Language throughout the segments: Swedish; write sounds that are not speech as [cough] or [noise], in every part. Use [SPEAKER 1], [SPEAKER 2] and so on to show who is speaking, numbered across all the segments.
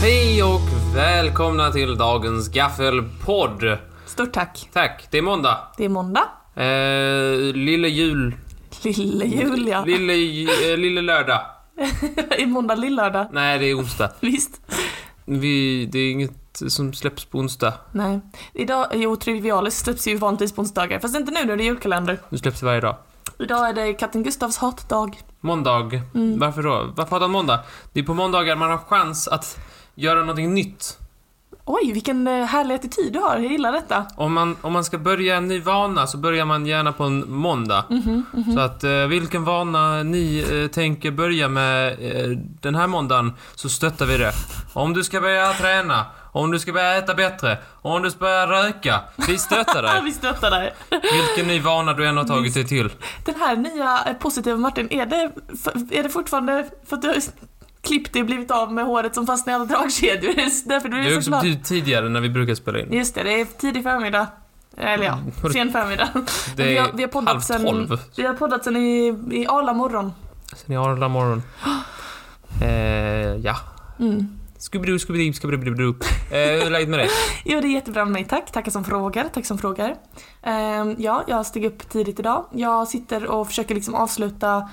[SPEAKER 1] Hej och välkomna till dagens gaffelpodd.
[SPEAKER 2] Stort tack.
[SPEAKER 1] Tack, det är måndag.
[SPEAKER 2] Det är måndag.
[SPEAKER 1] Eh, lille jul...
[SPEAKER 2] Lille Julia. [laughs]
[SPEAKER 1] Lille, ju- eh, lille lördag.
[SPEAKER 2] I måndag lillördag.
[SPEAKER 1] Nej, det är onsdag.
[SPEAKER 2] Visst?
[SPEAKER 1] Vi, det är inget som släpps på onsdag.
[SPEAKER 2] Nej. Idag, jo Trivialis släpps ju vanligtvis på onsdagar, fast inte nu när det är julkalender.
[SPEAKER 1] Nu släpps det varje dag.
[SPEAKER 2] Idag är det katten Gustavs hatdag.
[SPEAKER 1] Måndag. Varför då? Varför har han måndag? Det är på måndagar man har chans att göra någonting nytt.
[SPEAKER 2] Oj, vilken eh, härlig attityd du har. Jag gillar detta.
[SPEAKER 1] Om man, om man ska börja en ny vana så börjar man gärna på en måndag. Så att eh, vilken vana ni eh, tänker börja med eh, den här måndagen så stöttar vi det. Om du ska börja träna, om du ska börja äta bättre, om du ska börja röka. Vi stöttar
[SPEAKER 2] Ja, [laughs]
[SPEAKER 1] dig.
[SPEAKER 2] vi stöttar dig.
[SPEAKER 1] Vilken ny vana du än har tagit dig till.
[SPEAKER 2] Den här nya eh, positiva Martin, är det, för, är det fortfarande för att du har klippt dig och blivit av med håret som fastnar i alla dragkedjor? [laughs] Det är Därför du
[SPEAKER 1] Det är
[SPEAKER 2] är så
[SPEAKER 1] också
[SPEAKER 2] glad.
[SPEAKER 1] betydligt tidigare när vi brukar spela in.
[SPEAKER 2] Just det, det är tidig förmiddag. Eller ja,
[SPEAKER 1] Mm, hörru.
[SPEAKER 2] sen förmiddag. [laughs]
[SPEAKER 1] Det är
[SPEAKER 2] vi har- vi har poddat
[SPEAKER 1] halv
[SPEAKER 2] sen-
[SPEAKER 1] tolv.
[SPEAKER 2] Vi har poddat sen i, i Arla morgon.
[SPEAKER 1] Sen i arla morgon. [gasps] Eh, ja.
[SPEAKER 2] Mm.
[SPEAKER 1] Skubbidoo, skubbidoo, skubbidoo. Eh, hur är läget med dig?
[SPEAKER 2] Jo, det är jättebra med mig, tack. Tackar som frågar, tack som frågar. Ehm, ja, jag steg upp tidigt idag. Jag sitter och försöker liksom avsluta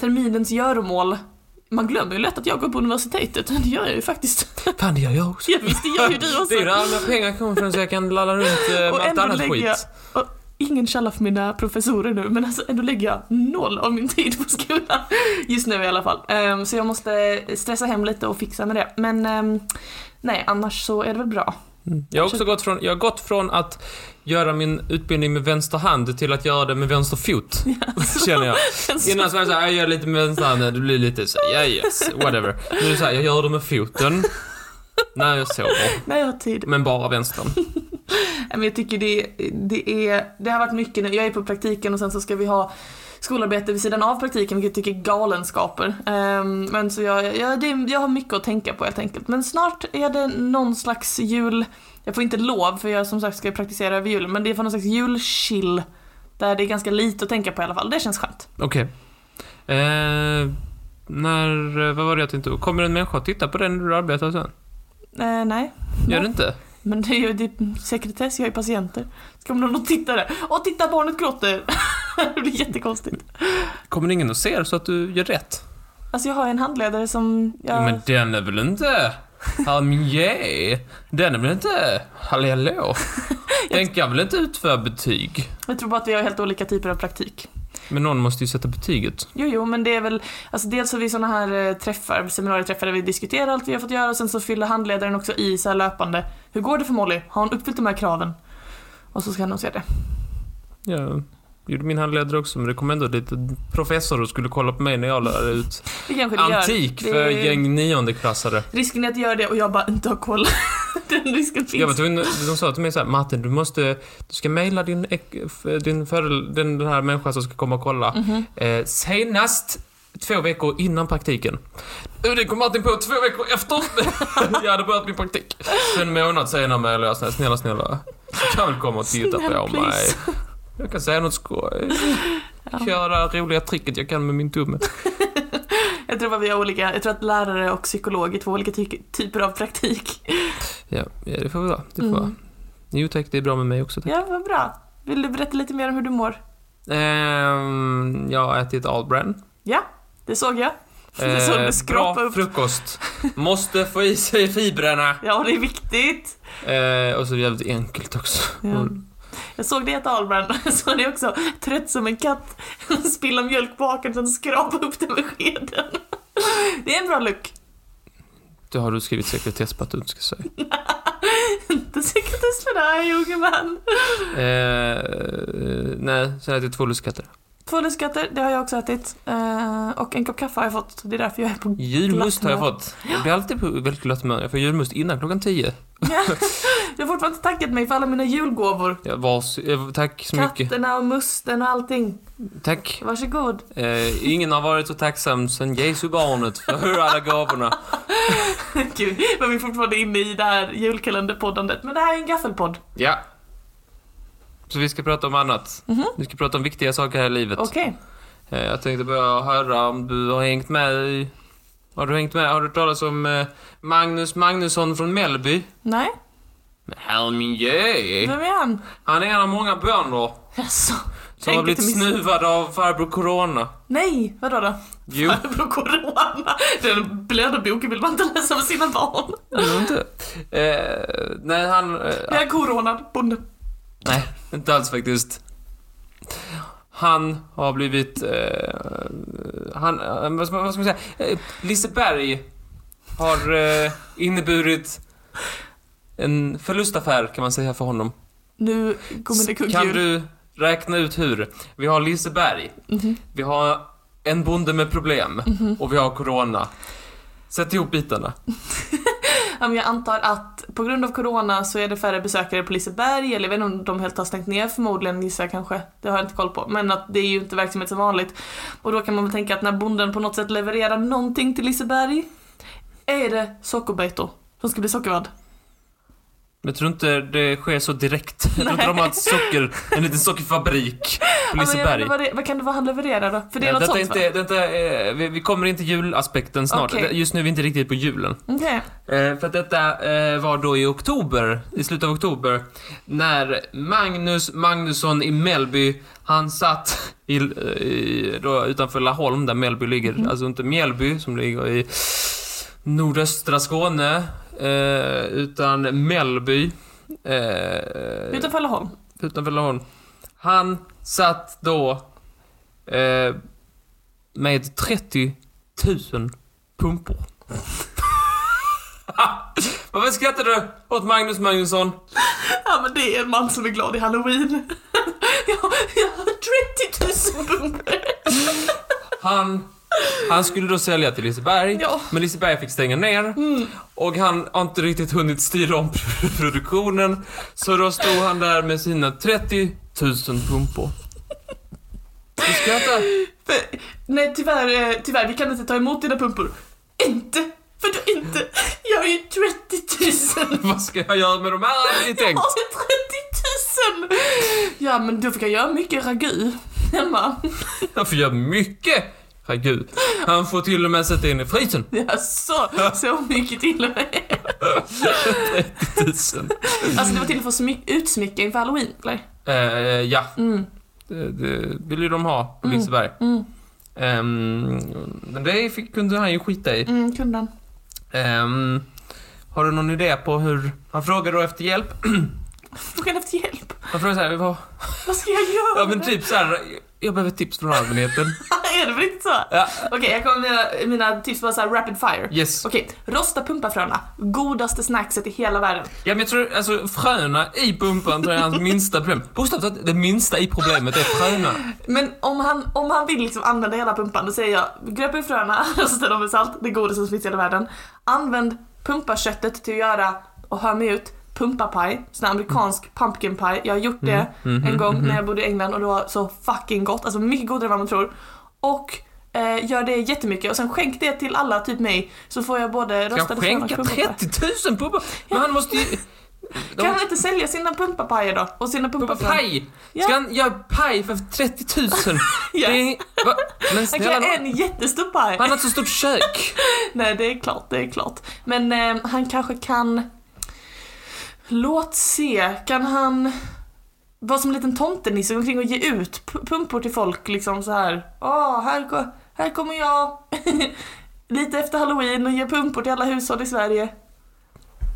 [SPEAKER 2] terminens göromål. Man glömmer ju lätt att jag går på universitetet, det gör jag ju faktiskt. [laughs]
[SPEAKER 1] Fan, det gör jag också.
[SPEAKER 2] Ja, visst, det
[SPEAKER 1] [laughs]
[SPEAKER 2] gör ju du
[SPEAKER 1] Det är ju
[SPEAKER 2] också.
[SPEAKER 1] där alla pengar kommer från så jag kan lalla runt eh, med
[SPEAKER 2] [laughs] Och
[SPEAKER 1] allt
[SPEAKER 2] ändå
[SPEAKER 1] annat
[SPEAKER 2] lägger jag-
[SPEAKER 1] skit.
[SPEAKER 2] Ingen källa för mina professorer nu, men alltså ändå lägger jag noll av min tid på skolan. [laughs] Just nu i alla fall. Ehm, så jag måste stressa hem lite och fixa med det. Men ehm, nej, annars så är det
[SPEAKER 1] [laughs]
[SPEAKER 2] väl bra.
[SPEAKER 1] Mm. Jag har också gått från, jag har gått från att göra min utbildning med vänster hand till att göra det med vänster
[SPEAKER 2] [laughs]
[SPEAKER 1] fot. Känner jag. Innan så var jag såhär, jag gör lite med vänster hand, det blir lite så ja yes, whatever. Nu är det såhär, jag gör det med foten. När jag sover.
[SPEAKER 2] När jag har tid.
[SPEAKER 1] Men bara vänstern.
[SPEAKER 2] Nej, Men jag tycker det, det, är, det har varit mycket nu. Jag är på praktiken och sen så ska vi ha skolarbete vid sidan av praktiken vilket jag tycker är galenskaper. Ehm, men så jag, jag, det, jag har mycket att tänka på helt enkelt. Men snart är det någon slags jul, jag får inte lov för jag som sagt ska praktisera över julen, men det är för någon slags julchill där det är ganska lite att tänka på i alla fall. Det känns skönt.
[SPEAKER 1] Okej. Eh, när, eh, vad var det jag tänkte? Kommer en människa att titta på den när du arbetar sen?
[SPEAKER 2] Eh, nej,
[SPEAKER 1] Gör
[SPEAKER 2] Nej.
[SPEAKER 1] det inte?
[SPEAKER 2] men det är ju det är sekretess, jag är patienter. Ska man nog titta där? Åh, titta barnet gråter! [laughs] det blir jättekonstigt.
[SPEAKER 1] Kommer ingen att se det så att du gör rätt?
[SPEAKER 2] Alltså jag har en handledare som... Jag...
[SPEAKER 1] Ja, men den är väl inte... Halmjä? Den är väl inte... Halli
[SPEAKER 2] [laughs]
[SPEAKER 1] hallå? Den kan väl inte utföra betyg?
[SPEAKER 2] Jag tror bara att vi har helt olika typer av praktik.
[SPEAKER 1] Men någon måste ju sätta betyget.
[SPEAKER 2] Jo, jo, men det är väl, alltså dels har vi sådana här eh, träffar, seminarieträffar där vi diskuterar allt vi har fått göra och sen så fyller handledaren också i så här löpande. Hur går det för Molly? Har hon uppfyllt de här kraven? Och så ska han nog se det.
[SPEAKER 1] Ja, gjorde min handledare också, men det kom ändå lite professorer och skulle kolla på mig när jag lärde ut
[SPEAKER 2] Det kanske det
[SPEAKER 1] antik
[SPEAKER 2] gör.
[SPEAKER 1] för
[SPEAKER 2] Det-
[SPEAKER 1] gäng niondeklassare.
[SPEAKER 2] Risken är att göra det och jag bara inte har koll. [laughs] Den risken
[SPEAKER 1] Jag var
[SPEAKER 2] finns.
[SPEAKER 1] tvungen, de sa till mig såhär, Martin du måste, du ska mejla din, ek- f- din förel, den, den här människan som ska komma och kolla.
[SPEAKER 2] Mhm.
[SPEAKER 1] Eh, senast två veckor innan praktiken. Eh, Det kom Martin på två veckor efter [laughs] jag hade börjat min praktik. Så En månad senare mejlade jag såhär, snälla snälla. Du kan väl komma och titta
[SPEAKER 2] Snäll,
[SPEAKER 1] på mig.
[SPEAKER 2] please.
[SPEAKER 1] Jag kan säga något skoj.
[SPEAKER 2] Ja.
[SPEAKER 1] Köra det här roliga tricket jag kan med min tumme.
[SPEAKER 2] Jag tror bara vi har olika, jag tror att lärare och psykolog är två olika ty- typer av praktik.
[SPEAKER 1] Ja, ja det får vi vara. Det får
[SPEAKER 2] Mm.
[SPEAKER 1] vara. Jo tack, det är bra med mig också tack.
[SPEAKER 2] Ja, vad bra. Vill du berätta lite mer om hur du mår?
[SPEAKER 1] Ehm, jag har ätit Allbrand.
[SPEAKER 2] Ja, det såg jag. Det såg
[SPEAKER 1] Eh,
[SPEAKER 2] du skrapa
[SPEAKER 1] bra
[SPEAKER 2] upp.
[SPEAKER 1] frukost. Måste få i sig fibrerna.
[SPEAKER 2] Ja, det är viktigt.
[SPEAKER 1] Eh, och så är det jävligt enkelt också.
[SPEAKER 2] Ja. Jag såg det i ett Albrand, [laughs] jag såg det också. Trött som en katt, [laughs] spilla mjölk på hakan sen skrapa upp den med skeden. [laughs] Det är en bra look. [laughs]
[SPEAKER 1] Det har du skrivit sekretess på att du inte ska säga.
[SPEAKER 2] Inte sekretess för dig, unge man.
[SPEAKER 1] Eh, eh, nej, sen äter jag två lussekatter.
[SPEAKER 2] Två lussekatter, det har jag också ätit. Eh, Och en kopp kaffe har jag fått, det är därför jag
[SPEAKER 1] [laughs]
[SPEAKER 2] är på... [laughs]
[SPEAKER 1] Julmust har jag
[SPEAKER 2] Glatt
[SPEAKER 1] fått. Jag blir alltid på väldigt glatt humör. Jag får julmust innan klockan tio.
[SPEAKER 2] Du har fortfarande inte tackat mig för alla mina julgåvor.
[SPEAKER 1] Jag vars, eh, tack så mycket.
[SPEAKER 2] Katterna och musten och allting.
[SPEAKER 1] Tack.
[SPEAKER 2] Varsågod. [laughs]
[SPEAKER 1] Eh, ingen har varit så tacksam sen Jesu barnet för alla gåvorna.
[SPEAKER 2] Gud, men vi är fortfarande inne i det här julkalenderpoddandet. Men det här är en gaffelpodd.
[SPEAKER 1] Ja. Så vi ska prata om annat. Vi ska prata om viktiga saker här i livet.
[SPEAKER 2] Okej.
[SPEAKER 1] Eh, Jag tänkte bara höra om du har hängt med i Har du hängt med? Har du hört talas om eh, Magnus Magnusson från Mellby?
[SPEAKER 2] Nej,
[SPEAKER 1] Herr min gej.
[SPEAKER 2] vem är han?
[SPEAKER 1] Han är en av många bönder
[SPEAKER 2] Jaså?
[SPEAKER 1] som har blivit snuvad av farbror Corona.
[SPEAKER 2] Nej, vadå då? [laughs]
[SPEAKER 1] Jo,
[SPEAKER 2] Farbror Corona. Den blöderboken vill man inte läsa för sina barn.
[SPEAKER 1] jo inte. Eh, nej, han... Eh,
[SPEAKER 2] Blir han coronad, bonde?
[SPEAKER 1] nej, inte alls faktiskt. Han har blivit... Eh, han... Eh, vad, ska, vad ska man säga? Eh, Liseberg har eh, inneburit en förlustaffär kan man säga för honom.
[SPEAKER 2] Nu kommer det
[SPEAKER 1] Kan
[SPEAKER 2] kugghjul.
[SPEAKER 1] du räkna ut hur? Vi har Liseberg,
[SPEAKER 2] Mhm.
[SPEAKER 1] vi har en bonde med problem och vi har corona. Sätt ihop bitarna.
[SPEAKER 2] Ja, men Jag antar att på grund av corona så är det färre besökare på Liseberg, eller jag vet inte om de helt har stängt ner förmodligen gissar jag kanske. Det har jag inte koll på. Men att det är ju inte verksamhet som vanligt. Och då kan man väl tänka att när bonden på något sätt levererar någonting till Liseberg, är det sockerbetor som ska bli sockervadd.
[SPEAKER 1] Men jag tror inte det sker så direkt. Jag tror inte de har ett socker, en liten sockerfabrik på
[SPEAKER 2] [laughs] Ja, men jag vet
[SPEAKER 1] Liseberg.
[SPEAKER 2] inte vad, det, vad kan det vara han levererar då? För det är något
[SPEAKER 1] detta
[SPEAKER 2] sånt
[SPEAKER 1] är inte, detta är, vi, vi kommer in till julaspekten snart.
[SPEAKER 2] Okej.
[SPEAKER 1] Det- Just nu är vi inte riktigt på julen.
[SPEAKER 2] va? Okej.
[SPEAKER 1] Eh, för att detta eh, var då i oktober, i slutet av oktober, när Magnus Magnusson i Mellby, han satt i, eh, i, då, utanför Laholm där Mellby ligger, alltså inte Mjällby som ligger i nordöstra Skåne, eh, utan Mellby. Eh,
[SPEAKER 2] Utanför Laholm.
[SPEAKER 1] utanför Laholm. Han satt då eh, med 30 000 pumpor. [laughs] Varför skrattar du åt Magnus Magnusson?
[SPEAKER 2] Ja men det är en man som är glad i halloween. [laughs] jag, jag har 30 000 pumpor.
[SPEAKER 1] Han, han skulle då sälja till Liseberg,
[SPEAKER 2] Ja.
[SPEAKER 1] men Liseberg fick stänga ner och han har inte riktigt hunnit styra om [laughs] produktionen. Så då stod han där med sina 30 000 pumpor. Du skrattar.
[SPEAKER 2] För, nej tyvärr, eh, tyvärr, vi kan inte ta emot dina pumpor. Inte! För du inte... Jag har ju 30 000!
[SPEAKER 1] Vad ska jag göra med de här? hade ni
[SPEAKER 2] Jag
[SPEAKER 1] tänkt?
[SPEAKER 2] har ju 30 000! Ja men då fick jag göra mycket ragu hemma.
[SPEAKER 1] Han får göra mycket! Herregud. Han får till och med sätta in i frysen.
[SPEAKER 2] Jaså, så mycket till och med.
[SPEAKER 1] Tusen.
[SPEAKER 2] Alltså det var till för att smyck- utsmycka inför halloween, eller?
[SPEAKER 1] Eh, ja,
[SPEAKER 2] Mm.
[SPEAKER 1] det, det vill ju de ha på
[SPEAKER 2] Mm.
[SPEAKER 1] Liseberg.
[SPEAKER 2] Mm.
[SPEAKER 1] Ehm, Men det fick, kunde han ju skita i.
[SPEAKER 2] Mm, kunden.
[SPEAKER 1] Ehm, har du någon idé på hur... Han frågar då efter hjälp.
[SPEAKER 2] Frågan efter hjälp.
[SPEAKER 1] Han frågar såhär, vad...
[SPEAKER 2] Vad ska jag göra?
[SPEAKER 1] Ja men typ såhär, jag behöver tips från allmänheten.
[SPEAKER 2] [laughs] är det väl inte så?
[SPEAKER 1] Ja.
[SPEAKER 2] Okej, jag kommer med mina, mina tips bara såhär rapid fire.
[SPEAKER 1] Yes.
[SPEAKER 2] Okej, rosta pumpafröna. Godaste snackset i hela världen.
[SPEAKER 1] Ja men jag tror, alltså fröna i pumpan tror jag är hans minsta problem. Bokstavligt talat, det minsta i problemet är fröna.
[SPEAKER 2] Men om han, om han vill liksom använda hela pumpan, då säger jag gröp ur fröna, [laughs] rosta dem med salt, det godaste som finns i hela världen. Använd pumpaköttet till att göra, och hör mig ut, pumpapaj. Sån här amerikansk pumpkin pie. Jag har gjort det
[SPEAKER 1] Mm,
[SPEAKER 2] en gång när jag bodde i England och det var så fucking gott. Alltså mycket godare än vad man tror. Och eh, gör det jättemycket och sen skänk det till alla, typ mig, så får jag både
[SPEAKER 1] Ska
[SPEAKER 2] rostade
[SPEAKER 1] han
[SPEAKER 2] frön och
[SPEAKER 1] skänka
[SPEAKER 2] pumpapaj.
[SPEAKER 1] 30 000 pumpar? Men han måste ju... De-
[SPEAKER 2] Kan han inte sälja sina pumpapajer då? Och sina pumpafrön?
[SPEAKER 1] Paj!
[SPEAKER 2] Ja.
[SPEAKER 1] Ska han göra paj för 30 000?
[SPEAKER 2] [laughs] Ja.
[SPEAKER 1] Det är, va? Men
[SPEAKER 2] Han kan
[SPEAKER 1] snälla
[SPEAKER 2] ha
[SPEAKER 1] nån,
[SPEAKER 2] en jättestor paj.
[SPEAKER 1] han har ett så stort kök.
[SPEAKER 2] Nej, det är klart, det är klart. Men eh, han kanske kan... Låt se, kan han vara som en liten tomtenisse och gå omkring och ge ut p- pumpor till folk liksom så här. Åh, här, ko- här kommer jag [laughs] lite efter halloween och ge pumpor till alla hushåll i Sverige.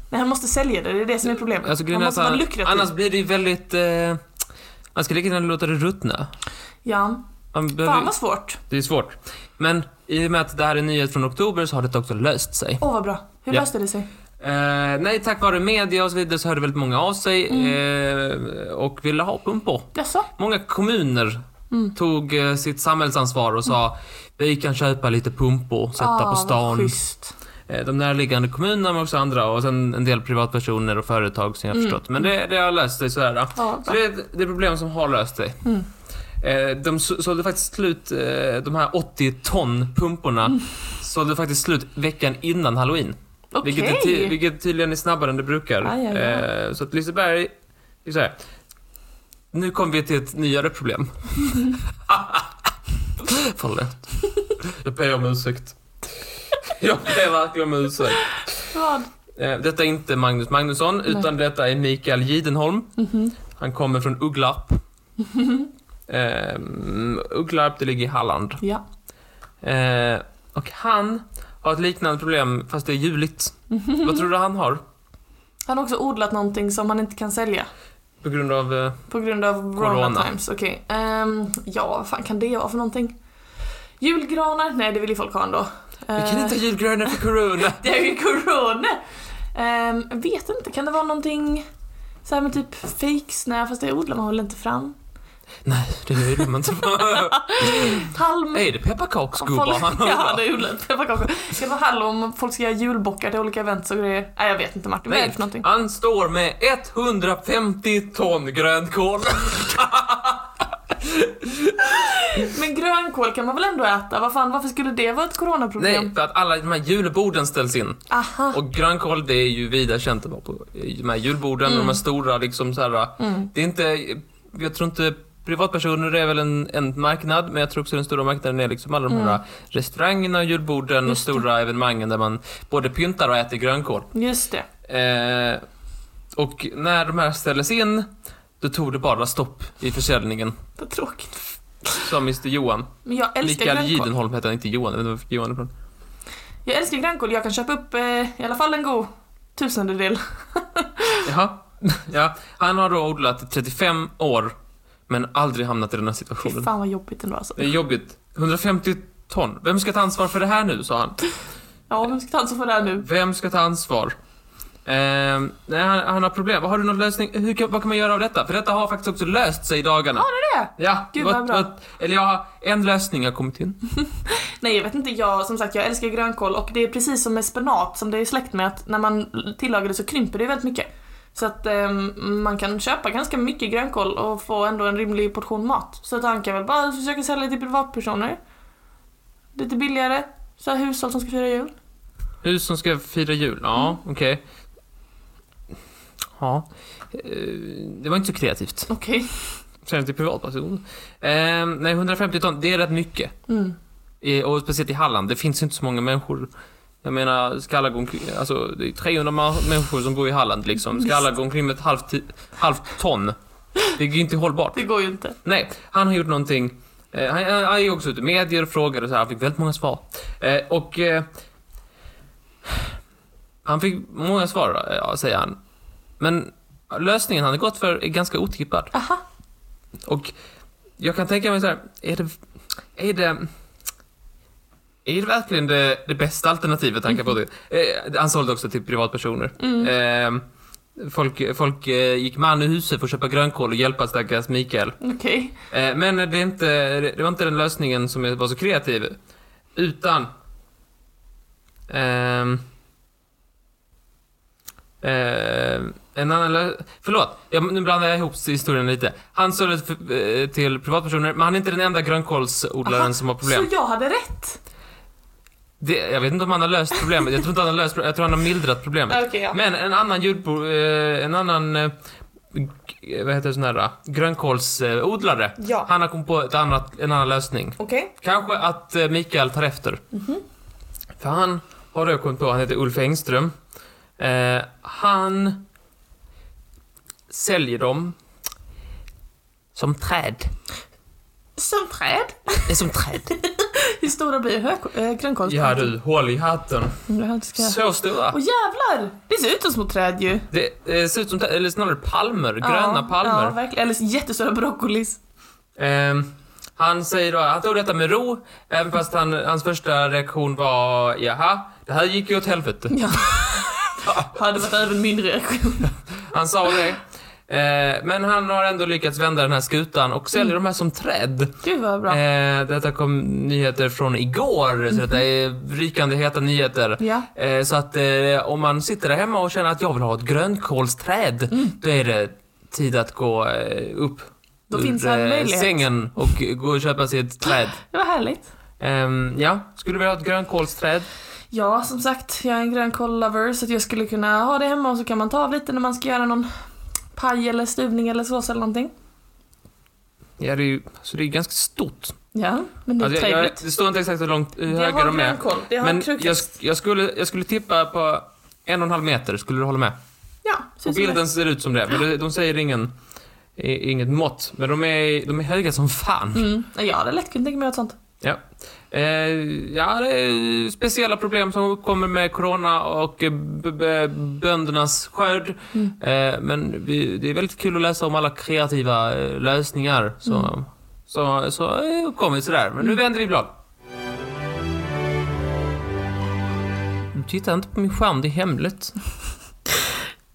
[SPEAKER 2] Nej, han måste sälja det, det är det som är problemet.
[SPEAKER 1] Alltså, grejen är
[SPEAKER 2] han måste
[SPEAKER 1] att
[SPEAKER 2] vara
[SPEAKER 1] han-
[SPEAKER 2] lukrativ.
[SPEAKER 1] annars blir det ju väldigt... Eh, man ska lika gärna låta det ruttna.
[SPEAKER 2] Ja,
[SPEAKER 1] Man
[SPEAKER 2] fan
[SPEAKER 1] behöver,
[SPEAKER 2] vad svårt.
[SPEAKER 1] det är svårt. Men i och med att det här är nyhet från oktober så har det också löst sig.
[SPEAKER 2] Åh, vad bra. Hur
[SPEAKER 1] Ja.
[SPEAKER 2] löste det sig?
[SPEAKER 1] Eh, nej, tack vare media och så vidare så hörde väldigt många av sig
[SPEAKER 2] Mm.
[SPEAKER 1] eh, och ville ha pumpor.
[SPEAKER 2] Jaså?
[SPEAKER 1] Många kommuner
[SPEAKER 2] Mm.
[SPEAKER 1] tog eh, sitt samhällsansvar och sa vi kan köpa lite pumpor, sätta
[SPEAKER 2] Ah,
[SPEAKER 1] på
[SPEAKER 2] Mm. Vad
[SPEAKER 1] stan.
[SPEAKER 2] schysst.
[SPEAKER 1] Eh, De närliggande kommunerna men också andra och sen en del privatpersoner och företag som jag har förstått. Men det, det har löst sig sådär. Då.
[SPEAKER 2] Ja,
[SPEAKER 1] Så
[SPEAKER 2] bra.
[SPEAKER 1] det, är ett- det är problem som har löst sig. Eh, De så- sålde faktiskt slut, eh, de här 80 ton pumporna, sålde faktiskt slut veckan innan halloween.
[SPEAKER 2] Okej.
[SPEAKER 1] Vilket, är ty- vilket tydligen är snabbare än det brukar.
[SPEAKER 2] Aj, aj, aj.
[SPEAKER 1] Eh, Så att Liseberg, det är så här. nu kommer vi till ett nyare problem. [laughs] Förlåt. Jag ber om ursäkt. [laughs] Jag ber verkligen om ursäkt.
[SPEAKER 2] Vad?
[SPEAKER 1] Eh, Detta är inte Magnus Magnusson, utan detta är Mikael Gidenholm.
[SPEAKER 2] Mhm.
[SPEAKER 1] Han kommer från
[SPEAKER 2] [laughs]
[SPEAKER 1] Ugglarp. Ehm, Ugglarp, det ligger i Halland.
[SPEAKER 2] Ja.
[SPEAKER 1] Eh, och han har ett liknande problem, fast det är
[SPEAKER 2] [laughs]
[SPEAKER 1] juligt. Vad tror du han har?
[SPEAKER 2] Han har också odlat någonting som han inte kan sälja.
[SPEAKER 1] På grund av... eh,
[SPEAKER 2] På grund av
[SPEAKER 1] Corona.
[SPEAKER 2] Corona times, okej. Ehm, ja, vad fan kan det vara för någonting? Julgranar? Nej, det vill ju folk ha ändå.
[SPEAKER 1] Vi kan
[SPEAKER 2] Ehm,
[SPEAKER 1] inte ha julgranar för corona!
[SPEAKER 2] [laughs] Det är ju corona! Ehm, jag vet inte, kan det vara någonting så här med typ fejksnö, fast det odlar man väl inte fram?
[SPEAKER 1] Nej, det är man inte.
[SPEAKER 2] [laughs] Halm...
[SPEAKER 1] är det pepparkaksgubbar
[SPEAKER 2] Om
[SPEAKER 1] han
[SPEAKER 2] folk- [laughs] Ja,
[SPEAKER 1] har?
[SPEAKER 2] det är odlat pepparkakor. Ska det vara hallon om folk ska göra julbockar till olika events och grejer? Nej, jag vet
[SPEAKER 1] [laughs]
[SPEAKER 2] inte Martin, vad är det för någonting?
[SPEAKER 1] Han står med 150 ton
[SPEAKER 2] [laughs]
[SPEAKER 1] grönkål.
[SPEAKER 2] Men grönkål kan man väl ändå äta? Vad fan, varför skulle det vara ett coronaproblem?
[SPEAKER 1] Nej, för att alla de här julborden ställs in.
[SPEAKER 2] Aha.
[SPEAKER 1] Och grönkål det är ju vida känt att vara på de här julborden, de
[SPEAKER 2] Mm.
[SPEAKER 1] här stora liksom så här. Det är inte, jag tror inte privatpersoner är väl en, en marknad, men jag tror också den stora marknaden är liksom alla de här
[SPEAKER 2] Mm.
[SPEAKER 1] restaurangerna och julborden och stora evenemangen där man både pyntar och äter grönkål.
[SPEAKER 2] Just det.
[SPEAKER 1] Eh, och när de här ställdes in, då tog det bara stopp i försäljningen,
[SPEAKER 2] Vad tråkigt.
[SPEAKER 1] sa Mr Johan.
[SPEAKER 2] Men jag älskar
[SPEAKER 1] Mikael
[SPEAKER 2] grönkål.
[SPEAKER 1] Gidenholm hette han, inte Johan, jag vet inte varför Johan är från.
[SPEAKER 2] Jag älskar grönkål. Jag kan köpa upp eh, i alla fall en god tusendedel.
[SPEAKER 1] Jaha. Ja, han har då odlat i 35 år, men aldrig hamnat i den här
[SPEAKER 2] Fy
[SPEAKER 1] situationen.
[SPEAKER 2] fan vad jobbigt ändå alltså.
[SPEAKER 1] Det är jobbigt. 150 ton. Vem ska ta ansvar för det här nu, sa han.
[SPEAKER 2] Ja, vem ska ta ansvar för det här nu?
[SPEAKER 1] Vem ska ta ansvar? Ehm, nej, han, han har problem. Har du någon lösning? Hur, kan- vad kan man göra av detta? För detta har faktiskt också löst sig i dagarna.
[SPEAKER 2] Har det det?
[SPEAKER 1] Ja,
[SPEAKER 2] Gud, vad bra.
[SPEAKER 1] eller ja, en lösning har kommit in.
[SPEAKER 2] Nej, jag vet inte. Jag, som sagt, jag älskar grönkål och det är precis som med spenat som det är släkt med att när man tillagar det så krymper det ju väldigt mycket. Så att eh, man kan köpa ganska mycket grönkål och få ändå en rimlig portion mat. Så att han kan väl bara försöka sälja till privatpersoner. Lite billigare. Så här hushåll som ska fira jul.
[SPEAKER 1] Hus som ska fira jul, ja, okej. Ja, eh, det var inte så kreativt.
[SPEAKER 2] Okej.
[SPEAKER 1] Sen till privatperson. Eh, nej, 150 ton, det är rätt mycket.
[SPEAKER 2] Mm.
[SPEAKER 1] I, och speciellt i Halland, det finns ju inte så många människor. Jag menar, ska alla gå omkring, alltså det är 300 ma- människor som bor i Halland liksom. Ska alla gå omkring med ett halvt, ti- halvt ton? Det är ju inte hållbart.
[SPEAKER 2] Det går ju inte.
[SPEAKER 1] Nej, han har gjort någonting. Eh, han, han, han gick också ut i medier och frågade och så här, han fick väldigt många svar. Eh, och... Eh, han fick många svar, eh, ja, säger han. Men lösningen han har gått för är ganska otippad.
[SPEAKER 2] Aha.
[SPEAKER 1] Och jag kan tänka mig så här, är det... Är det... Är det verkligen det, det bästa alternativet han kan få till? Eh, han sålde också till privatpersoner. Eh, folk folk eh, gick man ur huset för att köpa grönkål och hjälpa stackars Mikael.
[SPEAKER 2] Okej.
[SPEAKER 1] Eh, Men det, är inte, det var inte den lösningen som var så kreativ. Utan... ehm, ehm, en annan lö- Förlåt, jag, nu blandar jag ihop historien lite. Han sålde för- eh, till privatpersoner, men han är inte den enda grönkålsodlaren
[SPEAKER 2] Aha,
[SPEAKER 1] som har problem.
[SPEAKER 2] Så jag hade rätt?
[SPEAKER 1] Det, jag vet inte om han har löst problemet. Jag tror inte han har löst problemet. Jag tror han har mildrat problemet.
[SPEAKER 2] Okej, [laughs] ja.
[SPEAKER 1] Men en annan julbo... eh, En annan... eh, g- Vad heter det sån här? eh, Grönkålsodlare.
[SPEAKER 2] Ja.
[SPEAKER 1] Han har kommit på ett annat, en annan lösning.
[SPEAKER 2] Okej.
[SPEAKER 1] Kanske att eh, Mikael tar efter.
[SPEAKER 2] Mhm.
[SPEAKER 1] För han har då kommit på, han heter Ulf Engström. Eh, han säljer dem som träd.
[SPEAKER 2] Som träd.
[SPEAKER 1] Det är som träd.
[SPEAKER 2] Hur stora blir hö-
[SPEAKER 1] [laughs]
[SPEAKER 2] äh,
[SPEAKER 1] Ja
[SPEAKER 2] grönkålsplantor?
[SPEAKER 1] du, håll i hatten.
[SPEAKER 2] Ja, ska...
[SPEAKER 1] Så stora.
[SPEAKER 2] Åh jävlar! Det ser ut som små träd ju.
[SPEAKER 1] Det eh, ser ut som, eller snarare palmer, gröna
[SPEAKER 2] ja, Ja,
[SPEAKER 1] palmer.
[SPEAKER 2] verkligen. Eller jättestora broccolis.
[SPEAKER 1] Ehm, han säger då, han tog detta med ro, även fast han, hans första reaktion var, jaha, det här gick ju åt helvete.
[SPEAKER 2] Ja. Hade varit även min reaktion.
[SPEAKER 1] Han sa det. Eh, men han har ändå lyckats vända den här skutan och säljer de här som träd.
[SPEAKER 2] Gud vad bra. Mhm.
[SPEAKER 1] Eh, detta kom nyheter från igår, så detta är rykande heta nyheter.
[SPEAKER 2] Ja.
[SPEAKER 1] Eh, så att eh, om man sitter där hemma och känner att jag vill ha ett grönkålsträd,
[SPEAKER 2] Mm.
[SPEAKER 1] då är det tid att gå eh, upp eh,
[SPEAKER 2] Då finns här en möjlighet.
[SPEAKER 1] sängen och gå och köpa sig ett träd.
[SPEAKER 2] Det var härligt.
[SPEAKER 1] Ehm, ja, skulle du vilja ha ett grönkålsträd?
[SPEAKER 2] Ja, som sagt, jag är en grönkål-lover så att jag skulle kunna ha det hemma och så kan man ta av lite när man ska göra någon paj eller stuvning eller sås eller någonting.
[SPEAKER 1] Ja, det är ju, så det är ganska stort.
[SPEAKER 2] Ja, men det är
[SPEAKER 1] Alltså, jag, jag,
[SPEAKER 2] trevligt.
[SPEAKER 1] det står inte exakt hur långt hur
[SPEAKER 2] Det
[SPEAKER 1] höga
[SPEAKER 2] har
[SPEAKER 1] de är.
[SPEAKER 2] grönkoll. Det har
[SPEAKER 1] Men jag,
[SPEAKER 2] krukväxt.
[SPEAKER 1] sk- jag, skulle, jag skulle tippa på en och en halv meter, skulle du hålla med?
[SPEAKER 2] Ja,
[SPEAKER 1] På
[SPEAKER 2] syns det.
[SPEAKER 1] bilden ser det ut som det, men det- de säger ingen, i- inget mått. Men de är, de är höga som fan.
[SPEAKER 2] Mm. Ja, Jag hade lätt kunnat tänka mig något sånt.
[SPEAKER 1] Eh, ja, det är speciella problem som uppkommer med corona och eh, b- b- böndernas skörd.
[SPEAKER 2] Mm.
[SPEAKER 1] Eh, men vi, det är väldigt kul att läsa om alla kreativa eh, lösningar som
[SPEAKER 2] Mm.
[SPEAKER 1] så, så, eh, kommit sådär. Men nu
[SPEAKER 2] Mm.
[SPEAKER 1] vänder vi blad. Du tittar inte på min skärm, det är
[SPEAKER 2] [laughs]
[SPEAKER 1] hemligt.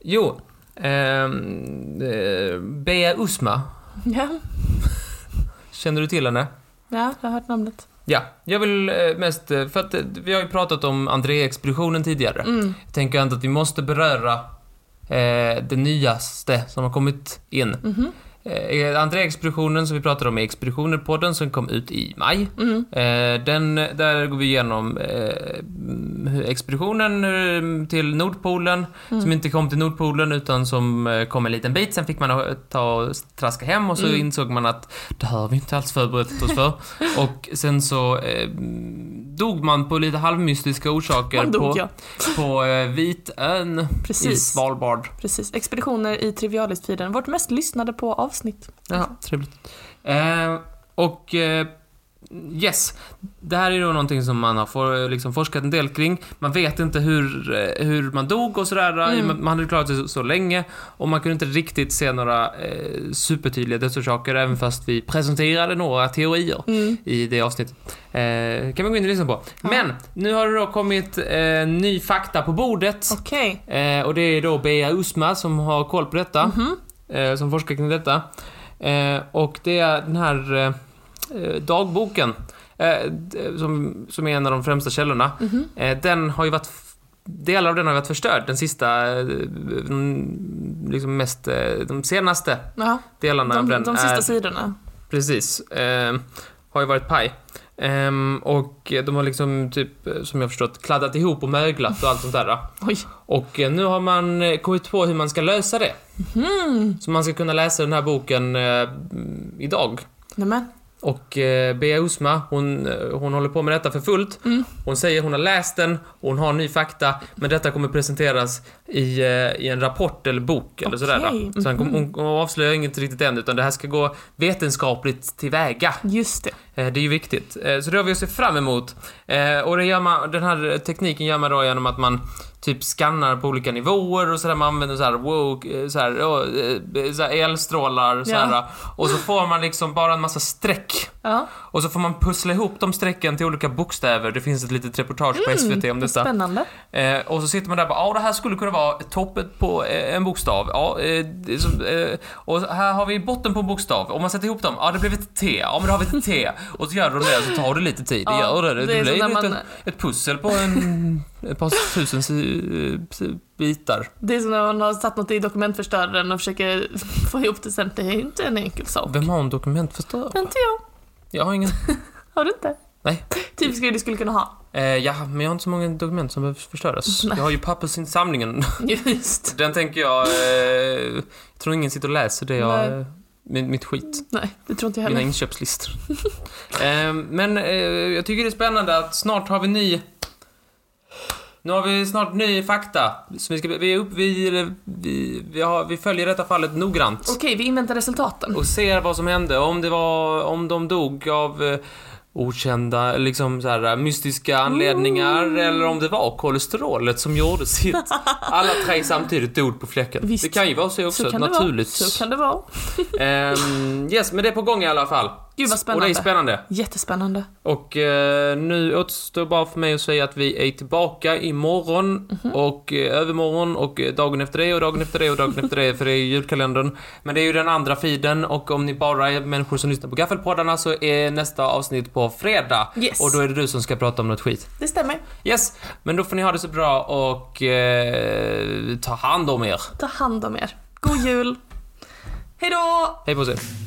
[SPEAKER 1] Jo, ehm, eh, Bea Usma.
[SPEAKER 2] Ja,
[SPEAKER 1] Känner du till henne?
[SPEAKER 2] ja jag har hört namnet.
[SPEAKER 1] Ja, jag vill eh, mest, eh, för att eh, vi har ju pratat om André-expeditionen tidigare.
[SPEAKER 2] Mm.
[SPEAKER 1] Jag tänker ändå att vi måste beröra eh, det nyaste som har kommit in.
[SPEAKER 2] Mhm.
[SPEAKER 1] Eh, André-expeditionen som vi pratade om i Expeditioner-podden som kom ut i maj.
[SPEAKER 2] Mm.
[SPEAKER 1] Eh, den, där går vi igenom eh, hur expeditionen eh, till Nordpolen,
[SPEAKER 2] Mm.
[SPEAKER 1] som inte kom till Nordpolen utan som eh, kom en liten bit. Sen fick man eh, ta och traska hem och så
[SPEAKER 2] Mm.
[SPEAKER 1] insåg man att det här har vi inte alls förberett oss
[SPEAKER 2] [laughs]
[SPEAKER 1] för. och sen så eh, dog man på lite halvmystiska orsaker
[SPEAKER 2] Man dog
[SPEAKER 1] på,
[SPEAKER 2] ja.
[SPEAKER 1] på eh, Vitön i
[SPEAKER 2] Precis.
[SPEAKER 1] Svalbard.
[SPEAKER 2] Precis. Expeditioner i Trivialistfiden. Vårt mest lyssnade på avsnitt.
[SPEAKER 1] Ja, Liksom. trevligt. Eh, och eh, yes, det här är då någonting som man har for, liksom forskat en del kring. Man vet inte hur, eh, hur man dog och sådär.
[SPEAKER 2] Mm.
[SPEAKER 1] Man, man hade klarat sig så, så länge och man kunde inte riktigt se några eh, supertydliga dödsorsaker även fast vi presenterade några teorier
[SPEAKER 2] Mm.
[SPEAKER 1] i det avsnittet. Eh, kan man gå in och lyssna på.
[SPEAKER 2] Ja.
[SPEAKER 1] Men nu har det då kommit eh, ny fakta på bordet.
[SPEAKER 2] Okej.
[SPEAKER 1] Eh, och det är då Bea Usma som har koll på detta
[SPEAKER 2] Mhm.
[SPEAKER 1] eh, som forskar kring detta. Eh, och det är den här eh, eh, dagboken, eh, d- som, som är en av de främsta källorna.
[SPEAKER 2] Mhm.
[SPEAKER 1] Eh, den har ju varit, f- delar av den har ju varit förstörd, den sista, eh, mm, liksom mest, eh, de senaste
[SPEAKER 2] Ja,
[SPEAKER 1] delarna av
[SPEAKER 2] de,
[SPEAKER 1] den
[SPEAKER 2] de sista
[SPEAKER 1] är,
[SPEAKER 2] sidorna.
[SPEAKER 1] precis, eh, har ju varit paj. Ehm, och de har liksom typ, eh, som jag förstått, kladdat ihop och möglat och allt sånt där.
[SPEAKER 2] Oj.
[SPEAKER 1] Och eh, nu har man eh, kommit på hur man ska lösa det.
[SPEAKER 2] Mm.
[SPEAKER 1] Så man ska kunna läsa den här boken eh, mm, idag.
[SPEAKER 2] Nämen.
[SPEAKER 1] Och eh, Bea Usma, hon, eh, hon håller på med detta för fullt.
[SPEAKER 2] Mm.
[SPEAKER 1] Hon säger hon har läst den, hon har ny fakta, men detta kommer presenteras i, eh, i en rapport eller bok eller sådär.
[SPEAKER 2] Okej, Mm-hmm.
[SPEAKER 1] då. Så hon, hon, hon avslöjar inget riktigt än, utan det här ska gå vetenskapligt tillväga.
[SPEAKER 2] Just det.
[SPEAKER 1] Eh, Det är ju viktigt. Eh, Så det har vi att se fram emot. Eh, Och det gör man, den här tekniken gör man då genom att man typ skannar på olika nivåer och sådär. Man använder såhär wow, eh, såhär, oh, eh, såhär elstrålar och såhär. Och så får man liksom bara en massa streck.
[SPEAKER 2] Ja.
[SPEAKER 1] Och så får man pussla ihop de strecken till olika bokstäver. Det finns ett litet reportage på SVT om detta.
[SPEAKER 2] Spännande.
[SPEAKER 1] Eh, och så sitter man där och bara, ja det här skulle kunna vara toppet på eh, en bokstav. Ja, eh, det är som, eh, och här har vi botten på en bokstav. Om man sätter ihop dem, ja det blev ett T. Ja men då har vi ett T. Och så gör de det, så tar det lite tid. Det
[SPEAKER 2] Ja,
[SPEAKER 1] gör det. Det,
[SPEAKER 2] det är som
[SPEAKER 1] blir
[SPEAKER 2] när
[SPEAKER 1] ett,
[SPEAKER 2] man-
[SPEAKER 1] ett pussel på en, ett par tusen si- si- bitar.
[SPEAKER 2] Det är som när man har satt något i dokumentförstöraren och försöker [laughs] få ihop det sen. Det är inte en enkel sak.
[SPEAKER 1] Vem har en dokumentförstörare?
[SPEAKER 2] Inte jag.
[SPEAKER 1] Jag har ingen.
[SPEAKER 2] Har du inte?
[SPEAKER 1] Nej.
[SPEAKER 2] Typisk grej du skulle kunna ha.
[SPEAKER 1] [laughs] Eh, ja, men jag har inte så många dokument som behöver förstöras. Jag har ju pappersinsamlingen. [laughs]
[SPEAKER 2] Just.
[SPEAKER 1] Den tänker jag... Eh, jag tror ingen sitter och läser det jag...
[SPEAKER 2] Nej.
[SPEAKER 1] Mitt, mitt skit.
[SPEAKER 2] Nej, det tror inte jag
[SPEAKER 1] Mina
[SPEAKER 2] heller.
[SPEAKER 1] inköpslistor. [laughs] eh, men eh, jag tycker det är spännande att snart har vi ny... Nu har vi snart ny fakta. Så vi, ska, vi, är upp, vi, vi, vi, har, vi följer detta fallet noggrant.
[SPEAKER 2] Okej, vi inväntar resultaten.
[SPEAKER 1] Och ser vad som hände. Om det var... Om de dog av... Eh, okända, liksom så här, mystiska anledningar
[SPEAKER 2] Mm.
[SPEAKER 1] eller om det var kolesterolet som gjorde sitt.
[SPEAKER 2] [laughs]
[SPEAKER 1] Alla tre samtidigt dog på fläcken.
[SPEAKER 2] Visst.
[SPEAKER 1] Det kan ju vara så också,
[SPEAKER 2] Så kan det vara.
[SPEAKER 1] naturligt.
[SPEAKER 2] Så kan det vara.
[SPEAKER 1] Ehm, yes, men det är på gång i alla fall.
[SPEAKER 2] Gud vad
[SPEAKER 1] Och det är
[SPEAKER 2] spännande.
[SPEAKER 1] spännande.
[SPEAKER 2] Jättespännande.
[SPEAKER 1] Och eh, nu återstår bara för mig att säga att vi är tillbaka imorgon och eh, övermorgon och eh, dagen efter det och dagen efter det och dagen efter det för det är ju julkalendern. Men det är ju den andra feeden och om ni bara är människor som lyssnar på gaffelpoddarna så är nästa avsnitt på fredag.
[SPEAKER 2] Yes.
[SPEAKER 1] Och då är det du som ska prata om något skit.
[SPEAKER 2] Det stämmer.
[SPEAKER 1] Yes, men då får ni ha det så bra och eh, ta hand om er. [laughs]
[SPEAKER 2] Ta hand om er. God jul. Hej då!
[SPEAKER 1] Hej på er.